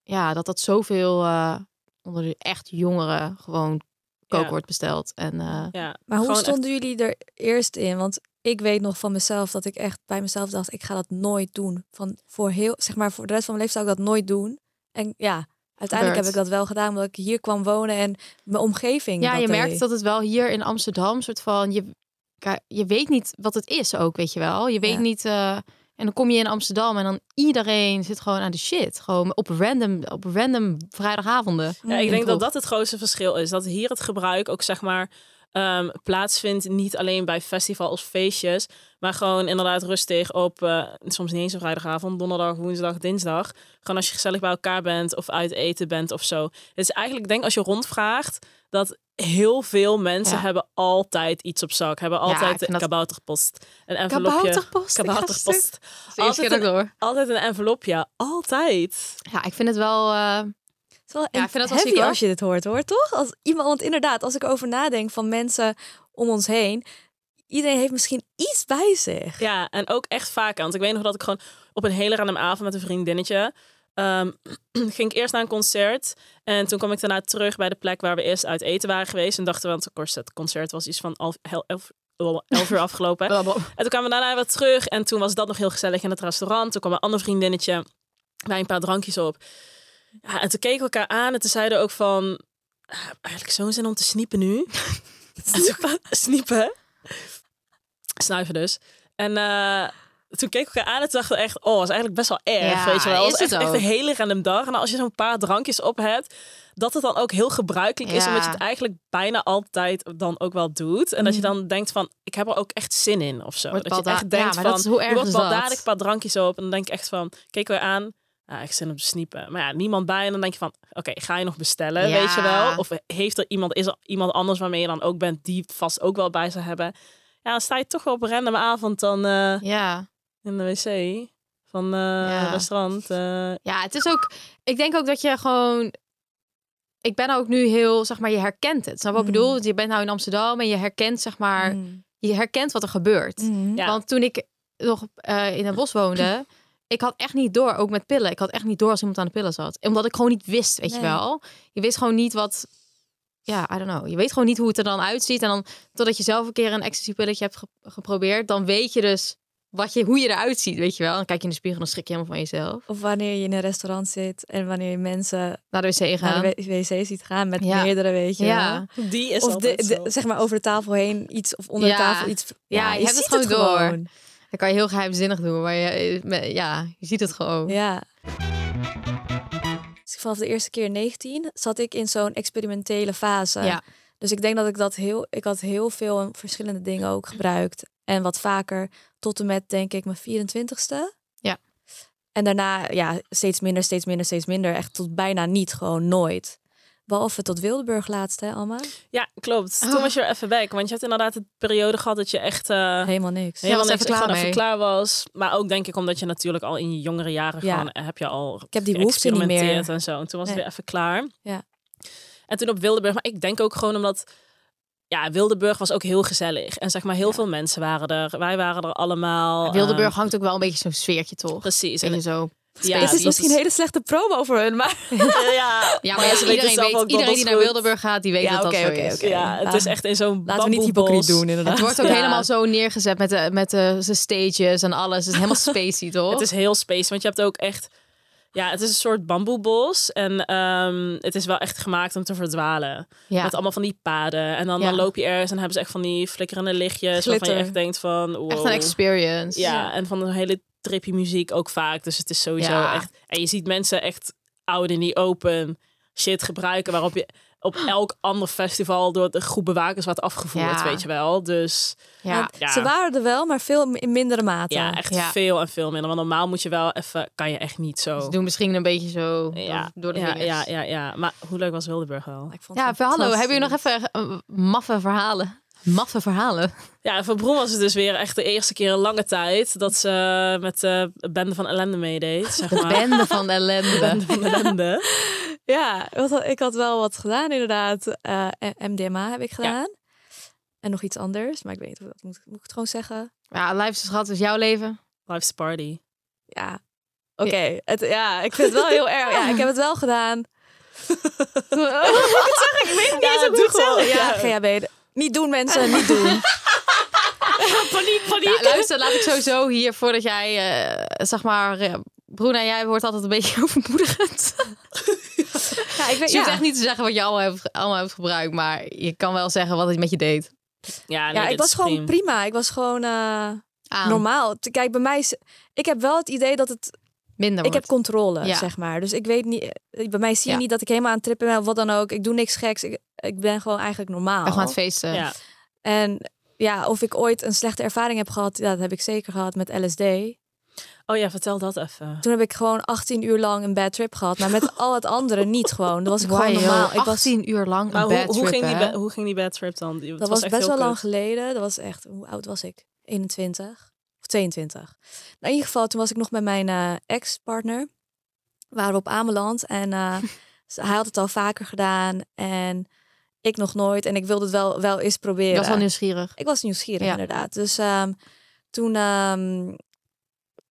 [SPEAKER 1] ja, dat dat zoveel eh, onder de echt jongeren gewoon kook
[SPEAKER 2] Ja.
[SPEAKER 1] wordt besteld. En eh,
[SPEAKER 2] Ja.
[SPEAKER 3] Maar hoe
[SPEAKER 2] Gewoon echt-
[SPEAKER 3] stonden jullie er eerst in? Want ik weet nog van mezelf dat ik echt bij mezelf dacht: ik ga dat nooit doen. Van voor heel, zeg maar, voor de rest van mijn leven zou ik dat nooit doen. En ja, uiteindelijk heb
[SPEAKER 1] Gebeurt.
[SPEAKER 3] ik dat wel gedaan omdat ik hier kwam wonen en mijn omgeving.
[SPEAKER 1] Ja,
[SPEAKER 3] dat
[SPEAKER 1] je
[SPEAKER 3] deed.
[SPEAKER 1] merkt dat het wel hier in Amsterdam soort van je, ka- je weet niet wat het is ook, weet je wel. Je weet
[SPEAKER 3] Ja.
[SPEAKER 1] niet. eh, en dan kom je in Amsterdam en dan iedereen zit gewoon aan de shit. Gewoon op random, op random vrijdagavonden.
[SPEAKER 2] Ja, ik
[SPEAKER 1] Mm.
[SPEAKER 2] denk dat
[SPEAKER 1] Klopt.
[SPEAKER 2] dat het grootste verschil is. Dat hier het gebruik ook zeg maar ehm, plaatsvindt. Niet alleen bij festivals of feestjes. Maar gewoon inderdaad rustig op eh, soms niet eens een vrijdagavond. Donderdag, woensdag, dinsdag. Gewoon als je gezellig bij elkaar bent of uit eten bent of zo. Het is eigenlijk, denk als je rondvraagt, dat heel veel mensen
[SPEAKER 1] Ja.
[SPEAKER 2] hebben altijd iets op zak. Hebben
[SPEAKER 1] ik
[SPEAKER 2] altijd
[SPEAKER 1] vind
[SPEAKER 2] een
[SPEAKER 1] dat-
[SPEAKER 2] kabouterpost. Een envelopje.
[SPEAKER 1] Kabouterpost. ik ga stuk.
[SPEAKER 2] Kabouterpost.
[SPEAKER 1] Dat is de eerste keer dat ik dat hoor.
[SPEAKER 2] Altijd een envelopje. Altijd.
[SPEAKER 1] Ja, ik vind het wel. eh,
[SPEAKER 3] Het is wel
[SPEAKER 1] Ja, ik vind dat wel
[SPEAKER 3] heavy
[SPEAKER 1] ziek, hoor.
[SPEAKER 3] als je dit hoort, hoor, toch? Als iemand, want inderdaad, als ik over nadenk van mensen om ons heen, iedereen heeft misschien iets bij zich.
[SPEAKER 2] Ja, en ook echt vaak. Want ik weet nog dat ik gewoon op een hele random avond met een vriendinnetje. ehm, ging ik eerst naar een concert. En toen kwam ik daarna terug bij de plek waar we eerst uit eten waren geweest. En dachten we, want of course, het concert was iets van elf, elf, elf, elf uur afgelopen. En toen kwamen we daarna weer terug. En toen was dat nog heel gezellig in het restaurant. Toen kwam een ander vriendinnetje. Wij een paar drankjes op. Ja, en toen keken we elkaar aan. En toen zeiden we ook van... "Ah, ik heb Eigenlijk zo'n zin om te sniepen nu. En toen- sniepen. Snuiven dus. En eh, toen keken we elkaar aan en toen dachten we echt... Oh, was eigenlijk best wel erg,
[SPEAKER 1] Ja,
[SPEAKER 2] weet je wel.
[SPEAKER 1] is
[SPEAKER 2] was
[SPEAKER 1] het
[SPEAKER 2] echt, echt een
[SPEAKER 1] ook.
[SPEAKER 2] hele random dag. En als je zo'n paar drankjes op hebt... Dat het dan ook heel gebruikelijk is.
[SPEAKER 1] Ja.
[SPEAKER 2] Omdat je het eigenlijk bijna altijd dan ook wel doet. En dat
[SPEAKER 1] Mhm.
[SPEAKER 2] je dan denkt van... Ik heb er ook echt zin in of zo.
[SPEAKER 1] Wordt
[SPEAKER 2] dat je
[SPEAKER 1] balda-
[SPEAKER 2] echt denkt
[SPEAKER 1] Ja, maar
[SPEAKER 2] van...
[SPEAKER 1] dat is hoe erg
[SPEAKER 2] je wordt
[SPEAKER 1] is dat?
[SPEAKER 2] wel dadelijk een paar drankjes op. En dan denk ik echt van... Keken we aan... Nou, ik zin om te sniepen. Maar ja, niemand bij. En dan denk je van, oké, ga je nog bestellen,
[SPEAKER 1] Ja.
[SPEAKER 2] weet je wel? Of heeft er iemand, is er iemand anders waarmee je dan ook bent... die het vast ook wel bij zou hebben? Ja, dan sta je toch wel op een random avond dan eh,
[SPEAKER 1] Ja.
[SPEAKER 2] in de wc. van eh,
[SPEAKER 1] Ja.
[SPEAKER 2] restaurant. eh,
[SPEAKER 1] Ja, het is ook. Ik denk ook dat je gewoon. Ik ben ook nu heel, zeg maar, je herkent het. Snap je wat ik
[SPEAKER 2] Hmm.
[SPEAKER 3] Mhm.
[SPEAKER 1] bedoel? Want Je bent nou in Amsterdam en je herkent, zeg maar,
[SPEAKER 3] Mm.
[SPEAKER 1] je herkent wat er gebeurt.
[SPEAKER 2] Hmm.
[SPEAKER 3] Mhm.
[SPEAKER 2] Ja.
[SPEAKER 1] Want toen ik nog eh, in een bos woonde, ik had echt niet door, ook met pillen. Ik had echt niet door als iemand aan de pillen zat. Omdat ik gewoon niet wist, weet je
[SPEAKER 3] Nee.
[SPEAKER 1] wel. Je wist gewoon niet wat. Ja, I don't know. Je weet gewoon niet hoe het er dan uitziet. En dan totdat je zelf een keer een ecstasy-pilletje hebt ge- geprobeerd, dan weet je dus wat je, hoe je eruit ziet, weet je wel. Dan kijk je in de spiegel en dan schrik je helemaal van jezelf.
[SPEAKER 3] Of wanneer je in een restaurant zit en wanneer je mensen
[SPEAKER 1] Naar de wc gaan.
[SPEAKER 3] naar de w- wc ziet gaan met
[SPEAKER 1] Ja.
[SPEAKER 3] meerdere, weet je wel.
[SPEAKER 1] Ja.
[SPEAKER 2] die is
[SPEAKER 3] Of de,
[SPEAKER 2] altijd
[SPEAKER 3] de-
[SPEAKER 2] zo.
[SPEAKER 3] zeg maar over de tafel heen iets of onder
[SPEAKER 1] Ja.
[SPEAKER 3] de tafel iets.
[SPEAKER 1] Ja, je
[SPEAKER 3] ziet
[SPEAKER 1] hebt het gewoon door. Dan kan je heel geheimzinnig doen, maar je, me- ja, je ziet het gewoon.
[SPEAKER 3] Ja. Dus vanaf de eerste keer 19 zat ik in zo'n experimentele fase.
[SPEAKER 1] Ja.
[SPEAKER 3] Dus ik denk dat ik dat heel, ik had heel veel verschillende dingen ook gebruikt. En wat vaker tot en met denk ik mijn 24ste.
[SPEAKER 1] Ja.
[SPEAKER 3] En daarna ja, steeds minder, steeds minder, steeds minder. Echt tot bijna niet, gewoon nooit. Behalve tot Wildeburg laatst, hè Alma?
[SPEAKER 2] Ja, klopt.
[SPEAKER 1] Oh.
[SPEAKER 2] Toen was je er even weg. Want je had inderdaad de periode gehad dat je echt... eh,
[SPEAKER 3] Helemaal niks.
[SPEAKER 1] Ja. was
[SPEAKER 2] helemaal
[SPEAKER 1] even
[SPEAKER 2] niks,
[SPEAKER 1] klaar
[SPEAKER 2] gewoon
[SPEAKER 1] mee.
[SPEAKER 2] even klaar was. Maar ook denk ik omdat je natuurlijk al in je jongere jaren
[SPEAKER 3] Ja.
[SPEAKER 2] gewoon eh, heb je al
[SPEAKER 3] heb die behoefte niet meer.
[SPEAKER 2] geëxperimenteerd en zo. En toen was het
[SPEAKER 3] Nee.
[SPEAKER 2] weer even klaar.
[SPEAKER 3] Ja.
[SPEAKER 2] En toen op Wildeburg. Maar ik denk ook gewoon omdat ja, Wildeburg was ook heel gezellig. En zeg maar heel veel mensen waren er. Wij waren er allemaal.
[SPEAKER 1] Wildeburg
[SPEAKER 2] ehm,
[SPEAKER 1] hangt ook wel een beetje zo'n sfeertje, toch?
[SPEAKER 2] precies.
[SPEAKER 1] Weet
[SPEAKER 2] En,
[SPEAKER 1] je zo.
[SPEAKER 2] ja,
[SPEAKER 3] Dit is
[SPEAKER 2] die-
[SPEAKER 3] misschien een hele slechte promo voor hun, maar...
[SPEAKER 2] ja.
[SPEAKER 1] Ja, maar
[SPEAKER 2] Maar ja, ze weten
[SPEAKER 1] iedereen,
[SPEAKER 2] zelf
[SPEAKER 1] weet,
[SPEAKER 2] ook
[SPEAKER 1] iedereen
[SPEAKER 2] dat
[SPEAKER 1] die
[SPEAKER 2] dat
[SPEAKER 1] naar Ah.
[SPEAKER 2] goed-
[SPEAKER 1] Wildeburg gaat, die weet
[SPEAKER 3] Ja,
[SPEAKER 1] dat dat
[SPEAKER 3] oké,
[SPEAKER 1] zo
[SPEAKER 3] oké,
[SPEAKER 1] is.
[SPEAKER 3] oké.
[SPEAKER 2] Ja, het
[SPEAKER 3] Laten-
[SPEAKER 2] is echt in zo'n
[SPEAKER 3] Laten we niet
[SPEAKER 2] bamboebos.
[SPEAKER 3] hypocriet doen, inderdaad.
[SPEAKER 1] Het wordt ook
[SPEAKER 2] Ja.
[SPEAKER 1] helemaal zo neergezet met de, met de, zijn stages en alles. Het is helemaal spacey, toch?
[SPEAKER 2] Het is heel space, want je hebt ook echt... Ja, het is een soort bamboebos. En ehm, het is wel echt gemaakt om te verdwalen.
[SPEAKER 1] ja.
[SPEAKER 2] Met allemaal van die paden. En dan,
[SPEAKER 1] Ja.
[SPEAKER 2] dan loop je ergens en hebben ze echt van die flikkerende lichtjes. Waarvan
[SPEAKER 3] Glitter.
[SPEAKER 2] je echt denkt van... Wow.
[SPEAKER 1] Echt een experience.
[SPEAKER 2] Ja, en van een hele trippy muziek ook vaak. Dus het is sowieso
[SPEAKER 1] Ja.
[SPEAKER 2] echt... En je ziet mensen echt oud in die open shit gebruiken. Waarop je op elk ander festival door de groep bewakers wordt afgevoerd,
[SPEAKER 1] Ja.
[SPEAKER 2] weet je wel. Dus
[SPEAKER 1] Ja.
[SPEAKER 3] Want
[SPEAKER 2] Ja.
[SPEAKER 3] Ze waren er wel, maar veel in mindere mate.
[SPEAKER 2] ja, echt
[SPEAKER 1] Ja.
[SPEAKER 2] veel en veel minder. Want normaal moet je wel even... Kan je echt niet zo...
[SPEAKER 1] Ze doen misschien een beetje zo door- door de
[SPEAKER 2] ja,
[SPEAKER 1] vingers.
[SPEAKER 2] ja, ja, ja. Maar hoe leuk was Wildeburg wel?
[SPEAKER 3] Ik vond
[SPEAKER 1] Ja,
[SPEAKER 3] het
[SPEAKER 1] hallo, hebben jullie nog
[SPEAKER 3] fantastisch.
[SPEAKER 1] even eh, maffe verhalen? Maffe verhalen.
[SPEAKER 2] Ja, en voor Broen was het dus weer echt de eerste keer in lange tijd dat ze met eh, de bende van ellende meedeed, zeg maar.
[SPEAKER 1] Bende van ellende.
[SPEAKER 2] Bende van ellende.
[SPEAKER 3] Ja, want ik had wel wat gedaan inderdaad. Eh, MDMA heb ik gedaan. En nog iets anders, maar ik weet niet of dat moet, moet ik het gewoon zeggen.
[SPEAKER 1] Ja, Life is schat, is jouw leven.
[SPEAKER 2] Life's a party.
[SPEAKER 3] Ja, oké. het- Ja, ik vind het wel heel erg. Ja, ik heb het wel gedaan. Oh,
[SPEAKER 2] Ja, doe gewoon.
[SPEAKER 3] Ja,
[SPEAKER 2] Ja,
[SPEAKER 3] GHB. Niet doen mensen, niet doen.
[SPEAKER 2] paniek,
[SPEAKER 1] Ja,
[SPEAKER 2] paniek.
[SPEAKER 1] luister, laat ik sowieso hier voordat jij, eh, zeg maar, eh, Bruna, jij wordt altijd een beetje overmoedigend.
[SPEAKER 3] Ja, ik weet,
[SPEAKER 1] Dus je hoeft
[SPEAKER 3] ja.
[SPEAKER 1] echt niet te zeggen wat je allemaal hebt, allemaal hebt gebruikt, maar je kan wel zeggen wat het met je deed.
[SPEAKER 2] Ja, nee,
[SPEAKER 3] ja, ik
[SPEAKER 2] dit
[SPEAKER 3] was
[SPEAKER 2] is
[SPEAKER 3] gewoon
[SPEAKER 2] prima.
[SPEAKER 3] prima. Ik was gewoon eh,
[SPEAKER 1] Aan.
[SPEAKER 3] normaal. Te- Kijk, bij mij is... Ik heb wel het idee dat het
[SPEAKER 1] Minder
[SPEAKER 3] Ik heb
[SPEAKER 1] wordt.
[SPEAKER 3] controle,
[SPEAKER 1] Ja.
[SPEAKER 3] zeg maar. Dus ik weet niet, eh, bij mij zie je
[SPEAKER 1] Ja.
[SPEAKER 3] niet dat ik helemaal aan het trippen ben of wat dan ook. Ik doe niks geks. Ik, ik ben gewoon eigenlijk normaal.
[SPEAKER 1] Echt gewoon aan het feesten.
[SPEAKER 2] Ja.
[SPEAKER 3] en ja, of ik ooit een slechte ervaring heb gehad, ja, dat heb ik zeker gehad met LSD.
[SPEAKER 2] Oh ja, vertel dat even.
[SPEAKER 3] Toen heb ik gewoon 18 uur lang een bad trip gehad, maar met al het andere niet gewoon. Dat was ik gewoon
[SPEAKER 1] Wauw,
[SPEAKER 3] normaal. Ik was,
[SPEAKER 1] 18 uur lang
[SPEAKER 2] Maar
[SPEAKER 1] een
[SPEAKER 2] hoe,
[SPEAKER 1] bad
[SPEAKER 2] hoe,
[SPEAKER 1] trip,
[SPEAKER 2] ging die
[SPEAKER 1] hè?
[SPEAKER 2] ba- hoe ging die bad trip dan? Die- het
[SPEAKER 3] dat was,
[SPEAKER 2] echt
[SPEAKER 3] best
[SPEAKER 2] heel
[SPEAKER 3] wel lang
[SPEAKER 2] kut.
[SPEAKER 3] geleden. Dat was echt, hoe oud was ik? 21 of 22. Nou, in ieder geval, toen was ik nog met mijn eh, ex-partner. We waren op Ameland en eh, ze- hij had het al vaker gedaan en ik nog nooit. En ik wilde het wel, wel eens
[SPEAKER 1] Ik
[SPEAKER 3] proberen.
[SPEAKER 1] was wel nieuwsgierig.
[SPEAKER 3] Ik was nieuwsgierig,
[SPEAKER 1] Ja.
[SPEAKER 3] inderdaad. Dus ehm, toen, ehm,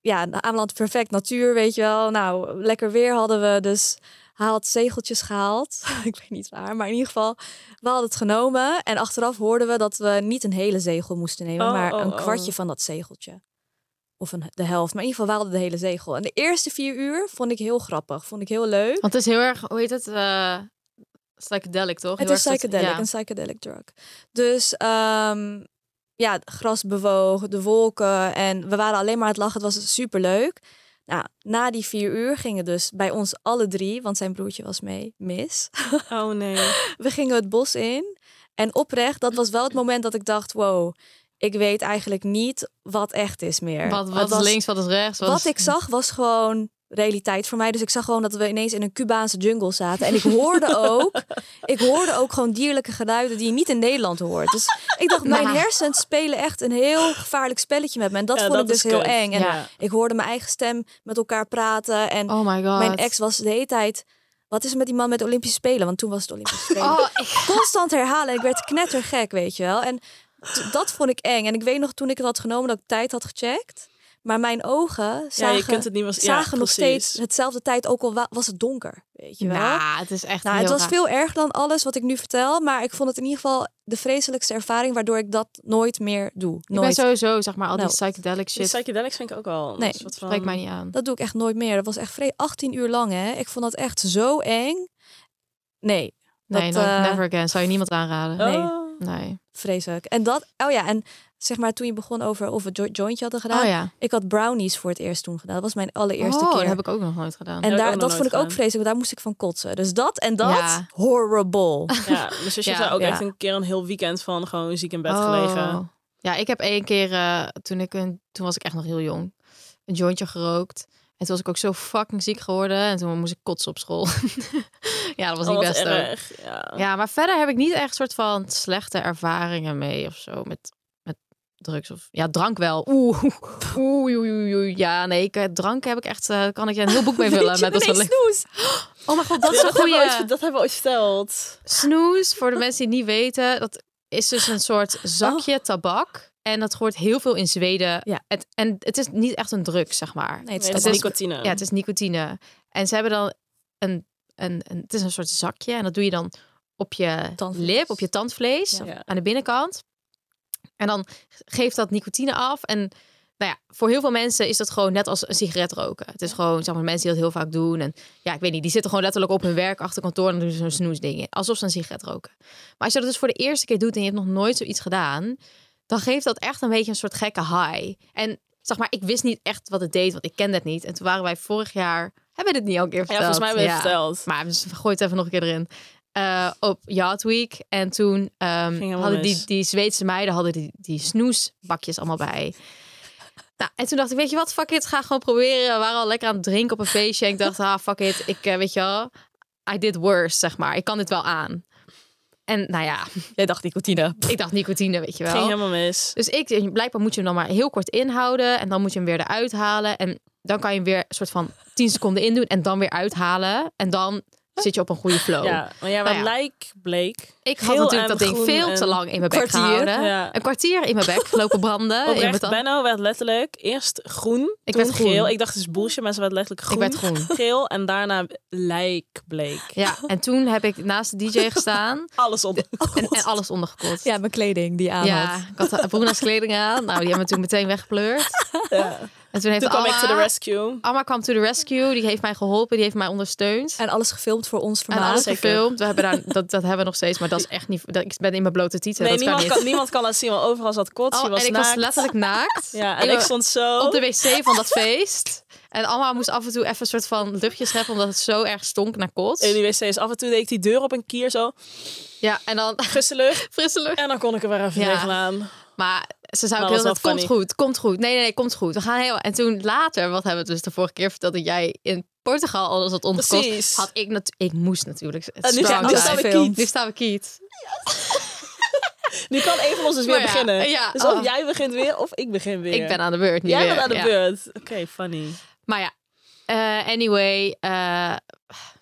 [SPEAKER 3] ja, Ameland perfect natuur, weet je wel. Nou, lekker weer hadden we, dus hij had zegeltjes gehaald. ik weet niet waar, maar in ieder geval, we hadden het genomen. En achteraf hoorden we dat we niet een hele zegel moesten nemen,
[SPEAKER 2] Oh,
[SPEAKER 3] maar
[SPEAKER 2] oh,
[SPEAKER 3] een
[SPEAKER 2] oh.
[SPEAKER 3] kwartje van dat zegeltje. Of een, de helft, maar in ieder geval, we hadden de hele zegel. En de eerste vier uur vond ik heel grappig, vond ik heel leuk.
[SPEAKER 1] Want het is heel erg, hoe heet het? eh psychedelic, toch?
[SPEAKER 3] Het
[SPEAKER 1] Heel erg
[SPEAKER 3] is
[SPEAKER 1] dat-
[SPEAKER 3] psychedelic,
[SPEAKER 1] ja.
[SPEAKER 3] een psychedelic drug. Dus ehm, ja, het gras bewoog, de wolken en we waren alleen maar aan het lachen. Het was superleuk. Nou, na die vier uur gingen dus bij ons alle drie, want zijn broertje was mee, mis.
[SPEAKER 2] Oh nee.
[SPEAKER 3] We gingen het bos in en oprecht, dat was wel het moment dat ik dacht, wow, ik weet eigenlijk niet wat echt is meer.
[SPEAKER 1] Wat, wat
[SPEAKER 3] Het
[SPEAKER 1] is
[SPEAKER 3] was-
[SPEAKER 1] links, wat is rechts?
[SPEAKER 3] Wat
[SPEAKER 1] is-
[SPEAKER 3] ik zag was gewoon realiteit voor mij. Dus ik zag gewoon dat we ineens in een Cubaanse jungle zaten. En ik hoorde ook, ik hoorde ook gewoon dierlijke geluiden die je niet in Nederland hoort. Dus ik dacht, mijn
[SPEAKER 1] Ja.
[SPEAKER 3] hersens spelen echt een heel gevaarlijk spelletje met me. En dat
[SPEAKER 2] Ja,
[SPEAKER 3] vond ik
[SPEAKER 2] dat
[SPEAKER 3] dus
[SPEAKER 2] is
[SPEAKER 3] heel
[SPEAKER 2] kut.
[SPEAKER 3] eng. En
[SPEAKER 2] Ja.
[SPEAKER 3] ik hoorde mijn eigen stem met elkaar praten. En
[SPEAKER 1] Oh my god.
[SPEAKER 3] mijn ex was de hele tijd... Wat is er met die man met de Olympische Spelen? Want toen was het Olympische Spelen
[SPEAKER 1] Oh, ik...
[SPEAKER 3] constant herhalen. En ik werd knettergek, weet je wel. En t- dat vond ik eng. En ik weet nog toen ik het had genomen dat ik tijd had gecheckt. Maar mijn ogen
[SPEAKER 2] Ja,
[SPEAKER 3] zagen,
[SPEAKER 2] je kunt het niet was, ja,
[SPEAKER 3] zagen nog
[SPEAKER 2] precies.
[SPEAKER 3] steeds hetzelfde tijd, ook al wa- was het donker, weet je wel.
[SPEAKER 1] Nou, het is echt
[SPEAKER 3] nou,
[SPEAKER 1] heel
[SPEAKER 3] het was
[SPEAKER 1] raar.
[SPEAKER 3] veel erger dan alles wat ik nu vertel. Maar ik vond het in ieder geval de vreselijkste ervaring... waardoor ik dat nooit meer doe.
[SPEAKER 1] Ik ben
[SPEAKER 3] Nooit.
[SPEAKER 1] sowieso, zeg maar, al die
[SPEAKER 3] Nou,
[SPEAKER 1] psychedelic
[SPEAKER 2] Die oh.
[SPEAKER 1] shit.
[SPEAKER 2] psychedelics vind ik ook wel.
[SPEAKER 3] Nee,
[SPEAKER 2] een soort van...
[SPEAKER 1] Spreek mij niet aan.
[SPEAKER 3] Dat doe ik echt nooit meer. Dat was echt vre- 18 uur lang, hè. Ik vond dat echt zo eng. Nee,
[SPEAKER 1] Nee,
[SPEAKER 3] dat,
[SPEAKER 1] no-
[SPEAKER 3] eh,
[SPEAKER 1] never again. Zou je niemand aanraden.
[SPEAKER 3] Nee.
[SPEAKER 2] Oh.
[SPEAKER 1] Nee.
[SPEAKER 3] vreselijk. En dat, oh ja, en zeg maar toen je begon over of we jo- jointje hadden gedaan...
[SPEAKER 1] Oh ja.
[SPEAKER 3] Ik had brownies voor het eerst toen gedaan. Dat was mijn allereerste
[SPEAKER 1] oh,
[SPEAKER 3] keer.
[SPEAKER 1] dat heb ik ook nog nooit gedaan.
[SPEAKER 3] En
[SPEAKER 2] Heb ik
[SPEAKER 3] daar,
[SPEAKER 2] ook nog
[SPEAKER 3] dat
[SPEAKER 2] nooit
[SPEAKER 3] vond ik ook
[SPEAKER 2] gedaan.
[SPEAKER 3] vreselijk, want daar moest ik van kotsen. Dus dat en dat,
[SPEAKER 1] Ja.
[SPEAKER 3] horrible.
[SPEAKER 2] Ja, mijn zusje
[SPEAKER 1] Ja,
[SPEAKER 2] heeft daar ook
[SPEAKER 3] ja.
[SPEAKER 2] echt een keer een heel weekend van gewoon ziek in bed
[SPEAKER 1] Oh.
[SPEAKER 2] gelegen.
[SPEAKER 1] Ja, ik heb één keer, eh, toen, ik een, toen was ik echt nog heel jong, een jointje gerookt. En toen was ik ook zo fucking ziek geworden. En toen moest ik kotsen op school. ja, dat was
[SPEAKER 2] Oh,
[SPEAKER 1] niet
[SPEAKER 2] wat
[SPEAKER 1] best ook.
[SPEAKER 2] erg. Ja.
[SPEAKER 1] Ja, maar verder heb ik niet echt soort van slechte ervaringen mee of zo met, met drugs of ja, drank wel. Oeh, oeh, oeh, oeh, oeh. ja, nee, ik, eh, drank heb ik echt, eh, kan ik je een heel boek mee vullen met dat soort li- Oh mijn god, dat
[SPEAKER 2] Ja,
[SPEAKER 1] is een
[SPEAKER 2] hebben we ooit-
[SPEAKER 1] goede
[SPEAKER 2] dat hebben we ooit verteld.
[SPEAKER 1] snoes voor de mensen die niet weten. Dat is dus een
[SPEAKER 3] Oh.
[SPEAKER 1] soort zakje tabak en dat hoort heel veel in Zweden.
[SPEAKER 3] Ja.
[SPEAKER 1] Het, en het is niet echt een drug, zeg maar.
[SPEAKER 3] Nee, het is
[SPEAKER 2] Nee, dat is
[SPEAKER 3] tabak.
[SPEAKER 2] nicotine.
[SPEAKER 1] Ja, het is nicotine. En ze hebben dan een, een, een, het is een soort zakje en dat doe je dan op je
[SPEAKER 3] Tandvlees.
[SPEAKER 1] lip, op je tandvlees,
[SPEAKER 3] Ja.
[SPEAKER 2] Ja.
[SPEAKER 1] aan de binnenkant. En dan geeft dat nicotine af. En nou ja, voor heel veel mensen is dat gewoon net als een sigaret roken. Het is gewoon, zeg maar, mensen die dat heel vaak doen. En ja, ik weet niet, die zitten gewoon letterlijk op hun werk achter kantoor en doen ze zo'n snoesding in. Alsof ze een sigaret roken. Maar als je dat dus voor de eerste keer doet en je hebt nog nooit zoiets gedaan, dan geeft dat echt een beetje een soort gekke high. En zeg maar, ik wist niet echt wat het deed, want ik kende het niet. En toen waren wij vorig jaar, hebben we dit niet al een keer
[SPEAKER 2] Ja,
[SPEAKER 1] verteld?
[SPEAKER 2] volgens mij eh, hebben we het
[SPEAKER 1] Ja.
[SPEAKER 2] verteld.
[SPEAKER 1] Maar dus gooi het even nog een keer erin. Eh, op Yacht Week. En toen ehm,
[SPEAKER 2] helemaal
[SPEAKER 1] hadden die,
[SPEAKER 2] mis.
[SPEAKER 1] die Zweedse meiden hadden die, die snoesbakjes allemaal bij. Nou, en toen dacht ik, weet je wat, fuck it, ga gewoon proberen. We waren al lekker aan het drinken op een feestje. En ik dacht, ah, fuck it, ik, eh, weet je wel, I did worse, zeg maar. Ik kan dit wel aan. En nou ja,
[SPEAKER 3] Jij dacht nicotine.
[SPEAKER 1] ik dacht nicotine, weet je wel.
[SPEAKER 2] Ging helemaal mis.
[SPEAKER 1] Dus ik, blijkbaar moet je hem dan maar heel kort inhouden. En dan moet je hem weer eruit halen. En dan kan je hem weer een soort van 10 seconden indoen. En dan weer uithalen. En dan zit je op een goede flow.
[SPEAKER 2] Ja, maar ja, wat
[SPEAKER 1] Nou ja.
[SPEAKER 2] lijk bleek.
[SPEAKER 1] Ik had
[SPEAKER 2] Geel
[SPEAKER 1] natuurlijk dat
[SPEAKER 2] en
[SPEAKER 1] ding
[SPEAKER 2] groen
[SPEAKER 1] veel
[SPEAKER 2] en-
[SPEAKER 1] te lang in mijn bek
[SPEAKER 3] kwartier.
[SPEAKER 1] gehouden.
[SPEAKER 2] Ja.
[SPEAKER 1] Een kwartier in mijn bek lopen branden. in mijn
[SPEAKER 2] Oprecht,
[SPEAKER 1] tand.
[SPEAKER 2] Benno werd letterlijk eerst groen,
[SPEAKER 1] Ik
[SPEAKER 2] toen
[SPEAKER 1] werd groen.
[SPEAKER 2] geel. Ik dacht, het is bullshit, maar ze werd letterlijk groen,
[SPEAKER 1] Ik werd groen.
[SPEAKER 2] geel en daarna lijkbleek.
[SPEAKER 1] Ja, en toen heb ik naast de DJ gestaan
[SPEAKER 2] Alles op.
[SPEAKER 1] en, en alles ondergekotst.
[SPEAKER 3] Ja, mijn kleding die je aan
[SPEAKER 1] Ja,
[SPEAKER 3] had.
[SPEAKER 1] ik had de- Bruna's kleding aan. Nou, die hebben me toen meteen weggepleurd. En toen heeft
[SPEAKER 2] Toen kwam ik
[SPEAKER 1] Alma,
[SPEAKER 2] to the rescue.
[SPEAKER 1] Alma kwam to the rescue. Die heeft mij geholpen. Die heeft mij ondersteund.
[SPEAKER 3] En alles gefilmd voor ons
[SPEAKER 1] En
[SPEAKER 3] vermaak.
[SPEAKER 1] alles
[SPEAKER 2] zeker.
[SPEAKER 1] gefilmd. We hebben daar, dat, dat hebben we nog steeds, maar dat is echt niet. Dat, ik ben in mijn blote tieten.
[SPEAKER 2] Nee,
[SPEAKER 1] dat kan
[SPEAKER 2] niemand
[SPEAKER 1] niet.
[SPEAKER 2] kan, niemand kan dat zien, want overal zat kots, je
[SPEAKER 1] Al-
[SPEAKER 2] was
[SPEAKER 1] en ik
[SPEAKER 2] naakt.
[SPEAKER 1] was letterlijk naakt.
[SPEAKER 2] Ja, en ik
[SPEAKER 1] wa-
[SPEAKER 2] stond zo.
[SPEAKER 1] op de wc van dat feest. En Alma moest af en toe even een soort van luchtje scheppen, omdat het zo erg stonk naar kots.
[SPEAKER 2] In die wc's. Af en toe deed ik die deur op een kier zo,
[SPEAKER 1] Ja, en dan
[SPEAKER 2] frisse lucht.
[SPEAKER 1] frisse lucht.
[SPEAKER 2] En dan kon ik er weer even
[SPEAKER 1] Ja.
[SPEAKER 2] tegenaan.
[SPEAKER 1] Maar ze zei ook
[SPEAKER 2] Maar
[SPEAKER 1] heel
[SPEAKER 2] was wel
[SPEAKER 1] dat komt
[SPEAKER 2] funny.
[SPEAKER 1] goed, komt goed. Nee, nee, nee, komt goed. We gaan heel. En toen later, wat hebben we dus de vorige keer verteld dat jij in Portugal alles had onderkost.
[SPEAKER 2] Precies.
[SPEAKER 1] Had ik natu- ik moest natuurlijk.
[SPEAKER 2] En nu,
[SPEAKER 1] strong
[SPEAKER 2] zijn, nu
[SPEAKER 3] zijn.
[SPEAKER 2] staan we
[SPEAKER 3] Film.
[SPEAKER 2] kiet.
[SPEAKER 1] Nu staan we kiet.
[SPEAKER 2] Nu kan een van ons dus weer
[SPEAKER 1] Maar ja,
[SPEAKER 2] beginnen.
[SPEAKER 1] ja,
[SPEAKER 2] dus of
[SPEAKER 1] oh.
[SPEAKER 2] jij begint weer, of ik begin weer.
[SPEAKER 1] Ik ben aan de beurt nu
[SPEAKER 2] Jij
[SPEAKER 1] weer.
[SPEAKER 2] bent aan de
[SPEAKER 1] Ja.
[SPEAKER 2] beurt. Oké, funny.
[SPEAKER 1] Maar ja, eh, anyway, eh,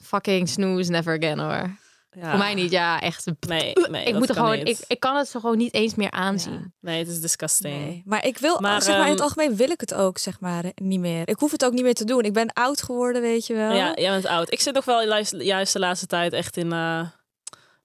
[SPEAKER 1] fucking snooze never again hoor.
[SPEAKER 2] Ja.
[SPEAKER 1] Voor mij niet, ja, echt.
[SPEAKER 2] Ah. Nee, nee,
[SPEAKER 1] ik,
[SPEAKER 2] dat
[SPEAKER 1] moet er
[SPEAKER 2] kan
[SPEAKER 1] gewoon, ik,
[SPEAKER 2] niet.
[SPEAKER 1] ik kan het zo gewoon niet eens meer aanzien.
[SPEAKER 2] Nee, het is disgusting.
[SPEAKER 3] Nee. Maar ik wil,
[SPEAKER 2] Maar,
[SPEAKER 3] zeg maar, in het
[SPEAKER 2] ehm,
[SPEAKER 3] algemeen wil ik het ook, zeg maar, niet meer. Ik hoef het ook niet meer te doen. Ik ben oud geworden, weet je wel.
[SPEAKER 2] Ja, jij bent oud. Ik zit nog wel juist- juist de laatste tijd echt in eh,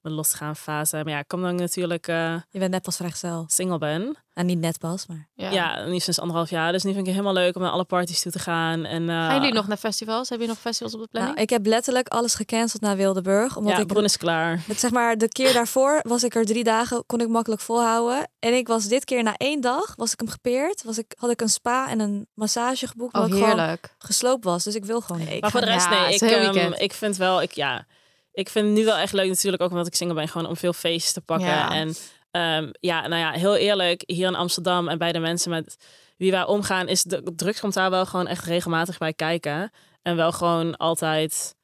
[SPEAKER 2] mijn losgaan fase. Maar ja, ik kom dan natuurlijk eh,
[SPEAKER 3] Je bent net pas vrijgezel.
[SPEAKER 2] single ben.
[SPEAKER 3] Nou, niet net pas, maar...
[SPEAKER 2] Ja. nu sinds anderhalf jaar. Dus nu vind ik het helemaal leuk om naar alle parties toe te gaan. En, eh,
[SPEAKER 1] Gaan jullie nog naar festivals? Hebben jullie nog festivals op de planning?
[SPEAKER 3] Nou, ik heb letterlijk alles gecanceld naar Wildeburg. Omdat
[SPEAKER 2] Ja,
[SPEAKER 3] ik
[SPEAKER 2] Broen is klaar.
[SPEAKER 3] Het, zeg maar, de keer daarvoor was ik er drie dagen, kon ik makkelijk volhouden. En ik was dit keer na één dag, was ik hem gepeerd. Was ik, had ik een spa en een massage geboekt, maar
[SPEAKER 2] Nou,
[SPEAKER 1] oh,
[SPEAKER 3] ik gewoon
[SPEAKER 1] heerlijk.
[SPEAKER 3] gesloopt was. Dus ik wil gewoon niet.
[SPEAKER 2] Maar voor de
[SPEAKER 1] ga-
[SPEAKER 2] rest,
[SPEAKER 1] ja, het
[SPEAKER 2] nee.
[SPEAKER 1] is
[SPEAKER 2] Ik,
[SPEAKER 1] een heel
[SPEAKER 2] ehm,
[SPEAKER 1] weekend.
[SPEAKER 2] ik vind wel, ik, ja, ik vind het nu wel echt leuk natuurlijk. Ook omdat ik single ben, gewoon om veel feestjes te pakken.
[SPEAKER 1] Ja.
[SPEAKER 2] En ehm, ja, nou ja, heel eerlijk. Hier in Amsterdam en bij de mensen met wie wij omgaan... is de drugs komt daar wel gewoon echt regelmatig bij kijken. En wel gewoon altijd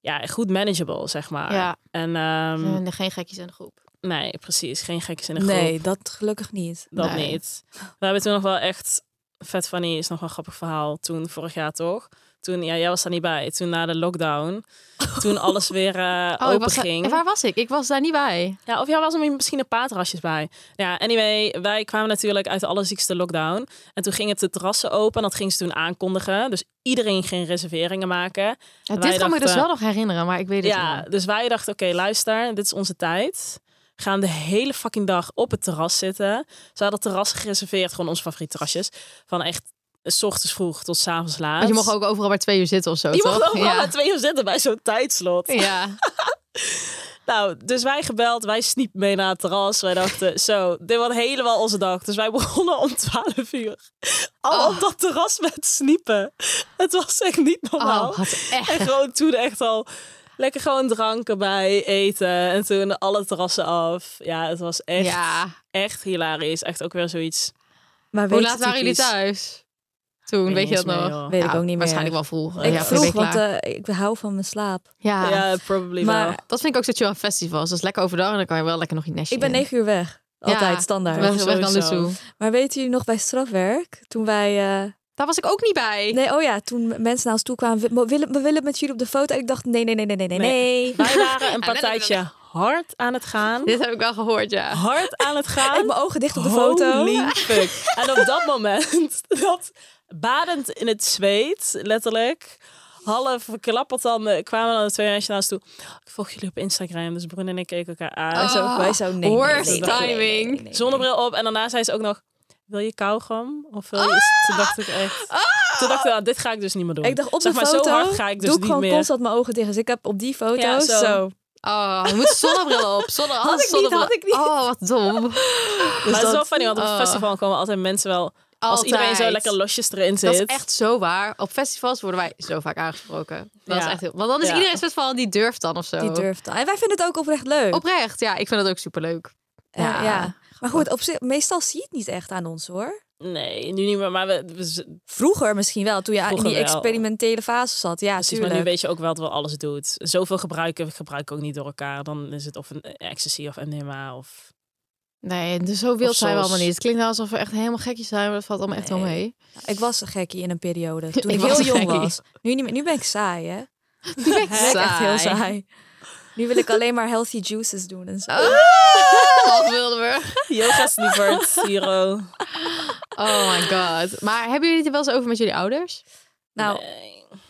[SPEAKER 2] ja, goed manageable, zeg maar.
[SPEAKER 1] Ja.
[SPEAKER 2] En ehm,
[SPEAKER 1] Er zijn geen gekjes in de groep.
[SPEAKER 2] nee, precies. Geen gekjes in de groep.
[SPEAKER 3] Nee, dat gelukkig niet.
[SPEAKER 2] Dat
[SPEAKER 1] Nee.
[SPEAKER 2] niet. We hebben toen nog wel echt... Vet Funny is nog wel een grappig verhaal. Toen, vorig jaar toch? Toen, ja, jij was daar niet bij. Toen na de lockdown. Toen alles weer eh,
[SPEAKER 1] Oh, ik
[SPEAKER 2] open
[SPEAKER 1] was daar-
[SPEAKER 2] ging.
[SPEAKER 1] en waar was ik? Ik was daar niet bij.
[SPEAKER 2] Ja, of jij was er misschien een paar terrasjes bij. Ja, anyway, wij kwamen natuurlijk uit de allerziekste lockdown. En toen gingen de terrassen open. Dat gingen ze toen aankondigen. Dus iedereen ging reserveringen maken.
[SPEAKER 1] Ja,
[SPEAKER 2] En
[SPEAKER 1] dit
[SPEAKER 2] wij
[SPEAKER 1] kan me dus
[SPEAKER 2] dachten-
[SPEAKER 1] wel nog herinneren, maar ik weet het
[SPEAKER 2] Ja,
[SPEAKER 1] niet.
[SPEAKER 2] dus wij dachten, oké, luister, dit is onze tijd. Gaan de hele fucking dag op het terras zitten. Ze hadden terrassen gereserveerd, gewoon onze favoriete terrasjes. Van echt eh, s ochtends vroeg tot s avonds laat.
[SPEAKER 1] Want je mocht ook overal bij twee uur zitten of zo,
[SPEAKER 2] Je
[SPEAKER 1] toch?
[SPEAKER 2] mocht ook
[SPEAKER 1] ja.
[SPEAKER 2] alle twee uur zitten bij zo'n tijdslot.
[SPEAKER 1] Ja.
[SPEAKER 2] Nou, dus wij gebeld, wij sniep mee naar het terras. Wij dachten, zo, dit wordt helemaal onze dag. Dus wij begonnen om 12 uur.
[SPEAKER 1] Ah.
[SPEAKER 2] Al op dat terras met sniepen. Het was echt niet normaal.
[SPEAKER 1] Oh, wat echt.
[SPEAKER 2] En gewoon toen echt al lekker gewoon dranken bij, eten. En toen alle terrassen af. Ja, het was echt,
[SPEAKER 1] ja.
[SPEAKER 2] echt hilarisch. Echt ook weer zoiets.
[SPEAKER 3] Maar
[SPEAKER 1] Hoe
[SPEAKER 3] weet
[SPEAKER 1] laat
[SPEAKER 3] je
[SPEAKER 1] waren jullie
[SPEAKER 3] typisch?
[SPEAKER 1] thuis? Toen,
[SPEAKER 2] Weet
[SPEAKER 1] weet je dat
[SPEAKER 2] niet eens meer,
[SPEAKER 1] nog?
[SPEAKER 2] joh.
[SPEAKER 3] Weet
[SPEAKER 1] Ja,
[SPEAKER 3] ik ook niet meer.
[SPEAKER 1] Waarschijnlijk wel vroeg.
[SPEAKER 3] Ik
[SPEAKER 1] Ja, voor de
[SPEAKER 3] vroeg,
[SPEAKER 1] week
[SPEAKER 3] want
[SPEAKER 1] laat.
[SPEAKER 3] eh, ik hou van mijn slaap.
[SPEAKER 1] ja.
[SPEAKER 2] Ja, probably
[SPEAKER 3] Maar
[SPEAKER 2] wel.
[SPEAKER 1] Dat vind ik ook zo chill aan festivals. Dat is lekker overdag en dan kan je wel lekker nog iets nestje
[SPEAKER 3] Ik ben
[SPEAKER 1] in.
[SPEAKER 3] negen uur weg.
[SPEAKER 1] Ja,
[SPEAKER 3] Altijd,
[SPEAKER 1] Ik
[SPEAKER 3] standaard.
[SPEAKER 1] ben zo weg dan
[SPEAKER 2] Sowieso.
[SPEAKER 1] Lusso.
[SPEAKER 3] Maar weten jullie nog bij strafwerk? Toen wij... eh,
[SPEAKER 1] Daar was ik ook niet bij.
[SPEAKER 3] Nee, oh ja, toen mensen naar ons toe kwamen. We we willen, we willen met jullie op de foto. En ik dacht, nee, nee, nee, nee, nee, nee. nee.
[SPEAKER 2] Wij waren een
[SPEAKER 1] Ja, dat
[SPEAKER 2] partijtje hard aan het gaan.
[SPEAKER 1] Dit heb ik wel gehoord, ja.
[SPEAKER 2] Hard aan het
[SPEAKER 3] Ik heb
[SPEAKER 2] gaan.
[SPEAKER 3] mijn ogen dicht op de foto.
[SPEAKER 2] Holy fuck. En op dat moment, dat badend in het zweet, letterlijk, half klappertanden, kwamen dan de twee meisjes naast toe. Ik volg jullie op Instagram, dus Broen en ik keken elkaar aan.
[SPEAKER 3] Wij zo,
[SPEAKER 1] Ah,
[SPEAKER 3] wij zo, nee, nee, nee,
[SPEAKER 1] worst
[SPEAKER 3] nee, nee, nee, nee, nee,
[SPEAKER 1] timing.
[SPEAKER 3] nee.
[SPEAKER 2] Zonnebril op en daarna zei ze ook nog, wil je kauwgom? Of wil je...
[SPEAKER 3] Ah!
[SPEAKER 2] Dus Toen dacht ik echt... Toen dacht ik, nou, dit ga ik dus niet meer doen.
[SPEAKER 3] Ik dacht, op
[SPEAKER 2] zeg
[SPEAKER 3] de
[SPEAKER 2] maar,
[SPEAKER 3] foto
[SPEAKER 2] zo hard ga ik dus
[SPEAKER 3] doe ik
[SPEAKER 2] niet
[SPEAKER 3] gewoon
[SPEAKER 2] meer.
[SPEAKER 3] constant mijn ogen dicht. Dus ik heb op die foto
[SPEAKER 2] Ja,
[SPEAKER 3] zo.
[SPEAKER 2] zo.
[SPEAKER 1] Oh, je moet zonnebril op. Zonne, had
[SPEAKER 3] ik niet, had ik niet.
[SPEAKER 1] Oh, wat dom.
[SPEAKER 2] maar het is wel
[SPEAKER 3] dat-
[SPEAKER 2] funny, want op
[SPEAKER 1] Oh.
[SPEAKER 2] het festival komen altijd mensen wel... Als iedereen zo
[SPEAKER 1] Altijd.
[SPEAKER 2] lekker losjes erin zit.
[SPEAKER 1] Dat is echt zo waar. Op festivals worden wij zo vaak aangesproken. Dat
[SPEAKER 2] Ja.
[SPEAKER 1] is echt heel... Want dan is
[SPEAKER 2] Ja.
[SPEAKER 1] iedereen best wel die durft dan of zo.
[SPEAKER 3] Die durft dan. En wij vinden het ook oprecht leuk.
[SPEAKER 1] Oprecht, ja. Ik vind dat ook superleuk.
[SPEAKER 3] Eh,
[SPEAKER 1] ja.
[SPEAKER 3] ja. Maar goed, op zich, meestal zie je het niet echt aan ons hoor.
[SPEAKER 2] Nee, nu niet meer, maar we, we z-
[SPEAKER 3] Vroeger misschien wel, toen je in
[SPEAKER 2] Vroeger
[SPEAKER 3] die
[SPEAKER 2] wel.
[SPEAKER 3] experimentele fase zat. Ja,
[SPEAKER 2] Precies,
[SPEAKER 3] tuurlijk.
[SPEAKER 2] maar nu weet je ook wel dat wel alles doet. Zoveel gebruiken gebruik ook niet door elkaar. Dan is het of een ecstasy of MDMA of...
[SPEAKER 1] Nee, dus zo wild
[SPEAKER 2] Of
[SPEAKER 1] zijn we
[SPEAKER 2] zoals-
[SPEAKER 1] allemaal niet. Het klinkt nou alsof we echt helemaal gekjes zijn, maar dat valt allemaal echt wel
[SPEAKER 3] Nee.
[SPEAKER 1] mee.
[SPEAKER 3] Ik was een gekkie in een periode,
[SPEAKER 1] Ik
[SPEAKER 3] toen ik,
[SPEAKER 1] was
[SPEAKER 3] heel
[SPEAKER 1] een
[SPEAKER 3] jong
[SPEAKER 1] gekkie.
[SPEAKER 3] was. Nu, niet meer, nu ben ik saai, hè? Nu
[SPEAKER 1] Nu ben ik
[SPEAKER 3] ben ik echt heel
[SPEAKER 1] saai.
[SPEAKER 3] saai. Nu wil ik alleen maar healthy juices doen en zo.
[SPEAKER 1] Ah, Wat wilden we?
[SPEAKER 2] Yoga slievert, Siro.
[SPEAKER 1] Oh my god. Maar hebben jullie het er wel eens over met jullie ouders?
[SPEAKER 3] Nou,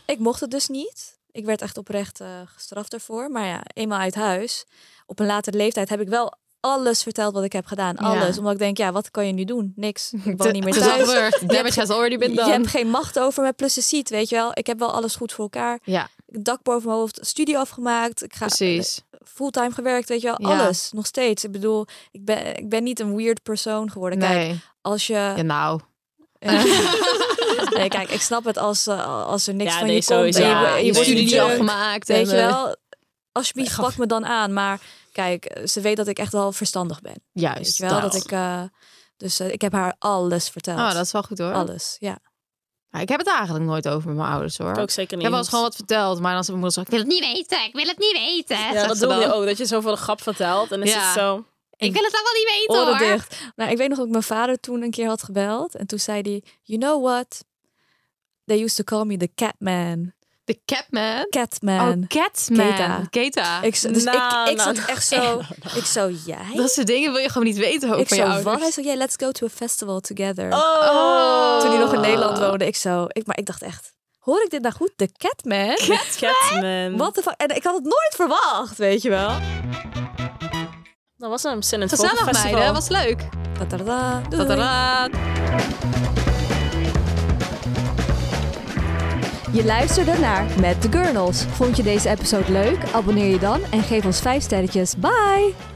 [SPEAKER 3] ik mocht het dus niet. Ik werd echt oprecht eh, gestraft daarvoor. Maar ja, eenmaal uit huis, op een latere leeftijd, heb ik wel alles verteld wat ik heb gedaan.
[SPEAKER 1] Ja.
[SPEAKER 3] Alles. Omdat ik denk, ja, wat kan je nu doen? Niks. Ik woon
[SPEAKER 1] Het-
[SPEAKER 3] niet meer
[SPEAKER 1] het is al
[SPEAKER 3] thuis.
[SPEAKER 1] gebeurd.
[SPEAKER 3] Je
[SPEAKER 1] Damage has already been
[SPEAKER 3] Je hebt
[SPEAKER 1] done.
[SPEAKER 3] geen macht over me. Plus je ziet, weet je wel. Ik heb wel alles goed voor elkaar.
[SPEAKER 1] Ja,
[SPEAKER 3] Dak boven mijn hoofd, studie afgemaakt. Ik ga
[SPEAKER 1] precies.
[SPEAKER 3] fulltime gewerkt, weet je wel.
[SPEAKER 1] Ja.
[SPEAKER 3] Alles, nog steeds. Ik bedoel, ik ben, ik ben niet een weird persoon geworden. Kijk,
[SPEAKER 1] Nee.
[SPEAKER 3] als je...
[SPEAKER 1] Ja, nou.
[SPEAKER 3] Nee, kijk, ik snap het als, eh, als er niks
[SPEAKER 2] Ja,
[SPEAKER 3] van
[SPEAKER 2] nee,
[SPEAKER 3] je komt.
[SPEAKER 1] Dus
[SPEAKER 2] sowieso.
[SPEAKER 3] en je-
[SPEAKER 2] Ja,
[SPEAKER 3] je,
[SPEAKER 2] je
[SPEAKER 3] wordt
[SPEAKER 2] studie
[SPEAKER 3] niet
[SPEAKER 2] niet
[SPEAKER 3] druk.
[SPEAKER 1] afgemaakt. en,
[SPEAKER 3] Weet je
[SPEAKER 1] eh,
[SPEAKER 3] wel, alsjeblieft, pak me dan aan. Maar kijk, ze weet dat ik echt wel verstandig ben. Weet
[SPEAKER 1] Juist.
[SPEAKER 3] je wel, dat ik... eh, dus eh, ik heb haar alles verteld.
[SPEAKER 1] Oh, dat is wel goed hoor.
[SPEAKER 3] Alles, ja.
[SPEAKER 1] Ja, ik heb het eigenlijk nooit over met mijn ouders hoor.
[SPEAKER 2] ook zeker
[SPEAKER 1] Ik
[SPEAKER 2] niet.
[SPEAKER 1] heb wel eens gewoon wat verteld, maar dan zei mijn moeder zo, ik wil het niet weten, ik wil het niet weten.
[SPEAKER 2] Ja,
[SPEAKER 1] zegt
[SPEAKER 2] dat
[SPEAKER 1] ze
[SPEAKER 2] doe
[SPEAKER 1] dan.
[SPEAKER 2] je ook. Dat je zoveel de grap vertelt. En dan
[SPEAKER 1] Ja.
[SPEAKER 2] is het zo...
[SPEAKER 1] Ik wil het allemaal niet weten
[SPEAKER 3] Oren
[SPEAKER 1] hoor.
[SPEAKER 3] dicht. Nou, ik weet nog dat ik mijn vader toen een keer had gebeld. En toen zei hij, you know what? They used to call me the Catman.
[SPEAKER 1] De Catman.
[SPEAKER 3] Catman.
[SPEAKER 1] Oh, Catman. Keta.
[SPEAKER 3] Keta. Ik, z- dus
[SPEAKER 2] Nou,
[SPEAKER 3] ik, ik
[SPEAKER 2] nou,
[SPEAKER 3] zat echt zo... Ik zo, jij?
[SPEAKER 1] Oh, Dat soort dingen wil je gewoon niet weten over
[SPEAKER 3] ik
[SPEAKER 1] van je
[SPEAKER 3] zo, wat?
[SPEAKER 1] ouders.
[SPEAKER 3] Hij zo, yeah, let's go to a festival together.
[SPEAKER 2] Oh!
[SPEAKER 3] Toen hij nog in Nederland woonde, ik zo... Ik, maar ik dacht echt, hoor ik dit nou goed? The Catman?
[SPEAKER 2] Catman.
[SPEAKER 3] Wat de fuck? En ik had het nooit verwacht, weet je wel.
[SPEAKER 2] Dat was een zin in het
[SPEAKER 1] Gezellig
[SPEAKER 2] Volkenfestival.
[SPEAKER 1] meiden, was leuk.
[SPEAKER 3] Tadada, doei.
[SPEAKER 1] Tadaa.
[SPEAKER 3] Je luisterde naar Met de Gurnals. Vond je deze episode leuk? Abonneer je dan en geef ons 5 sterretjes. Bye!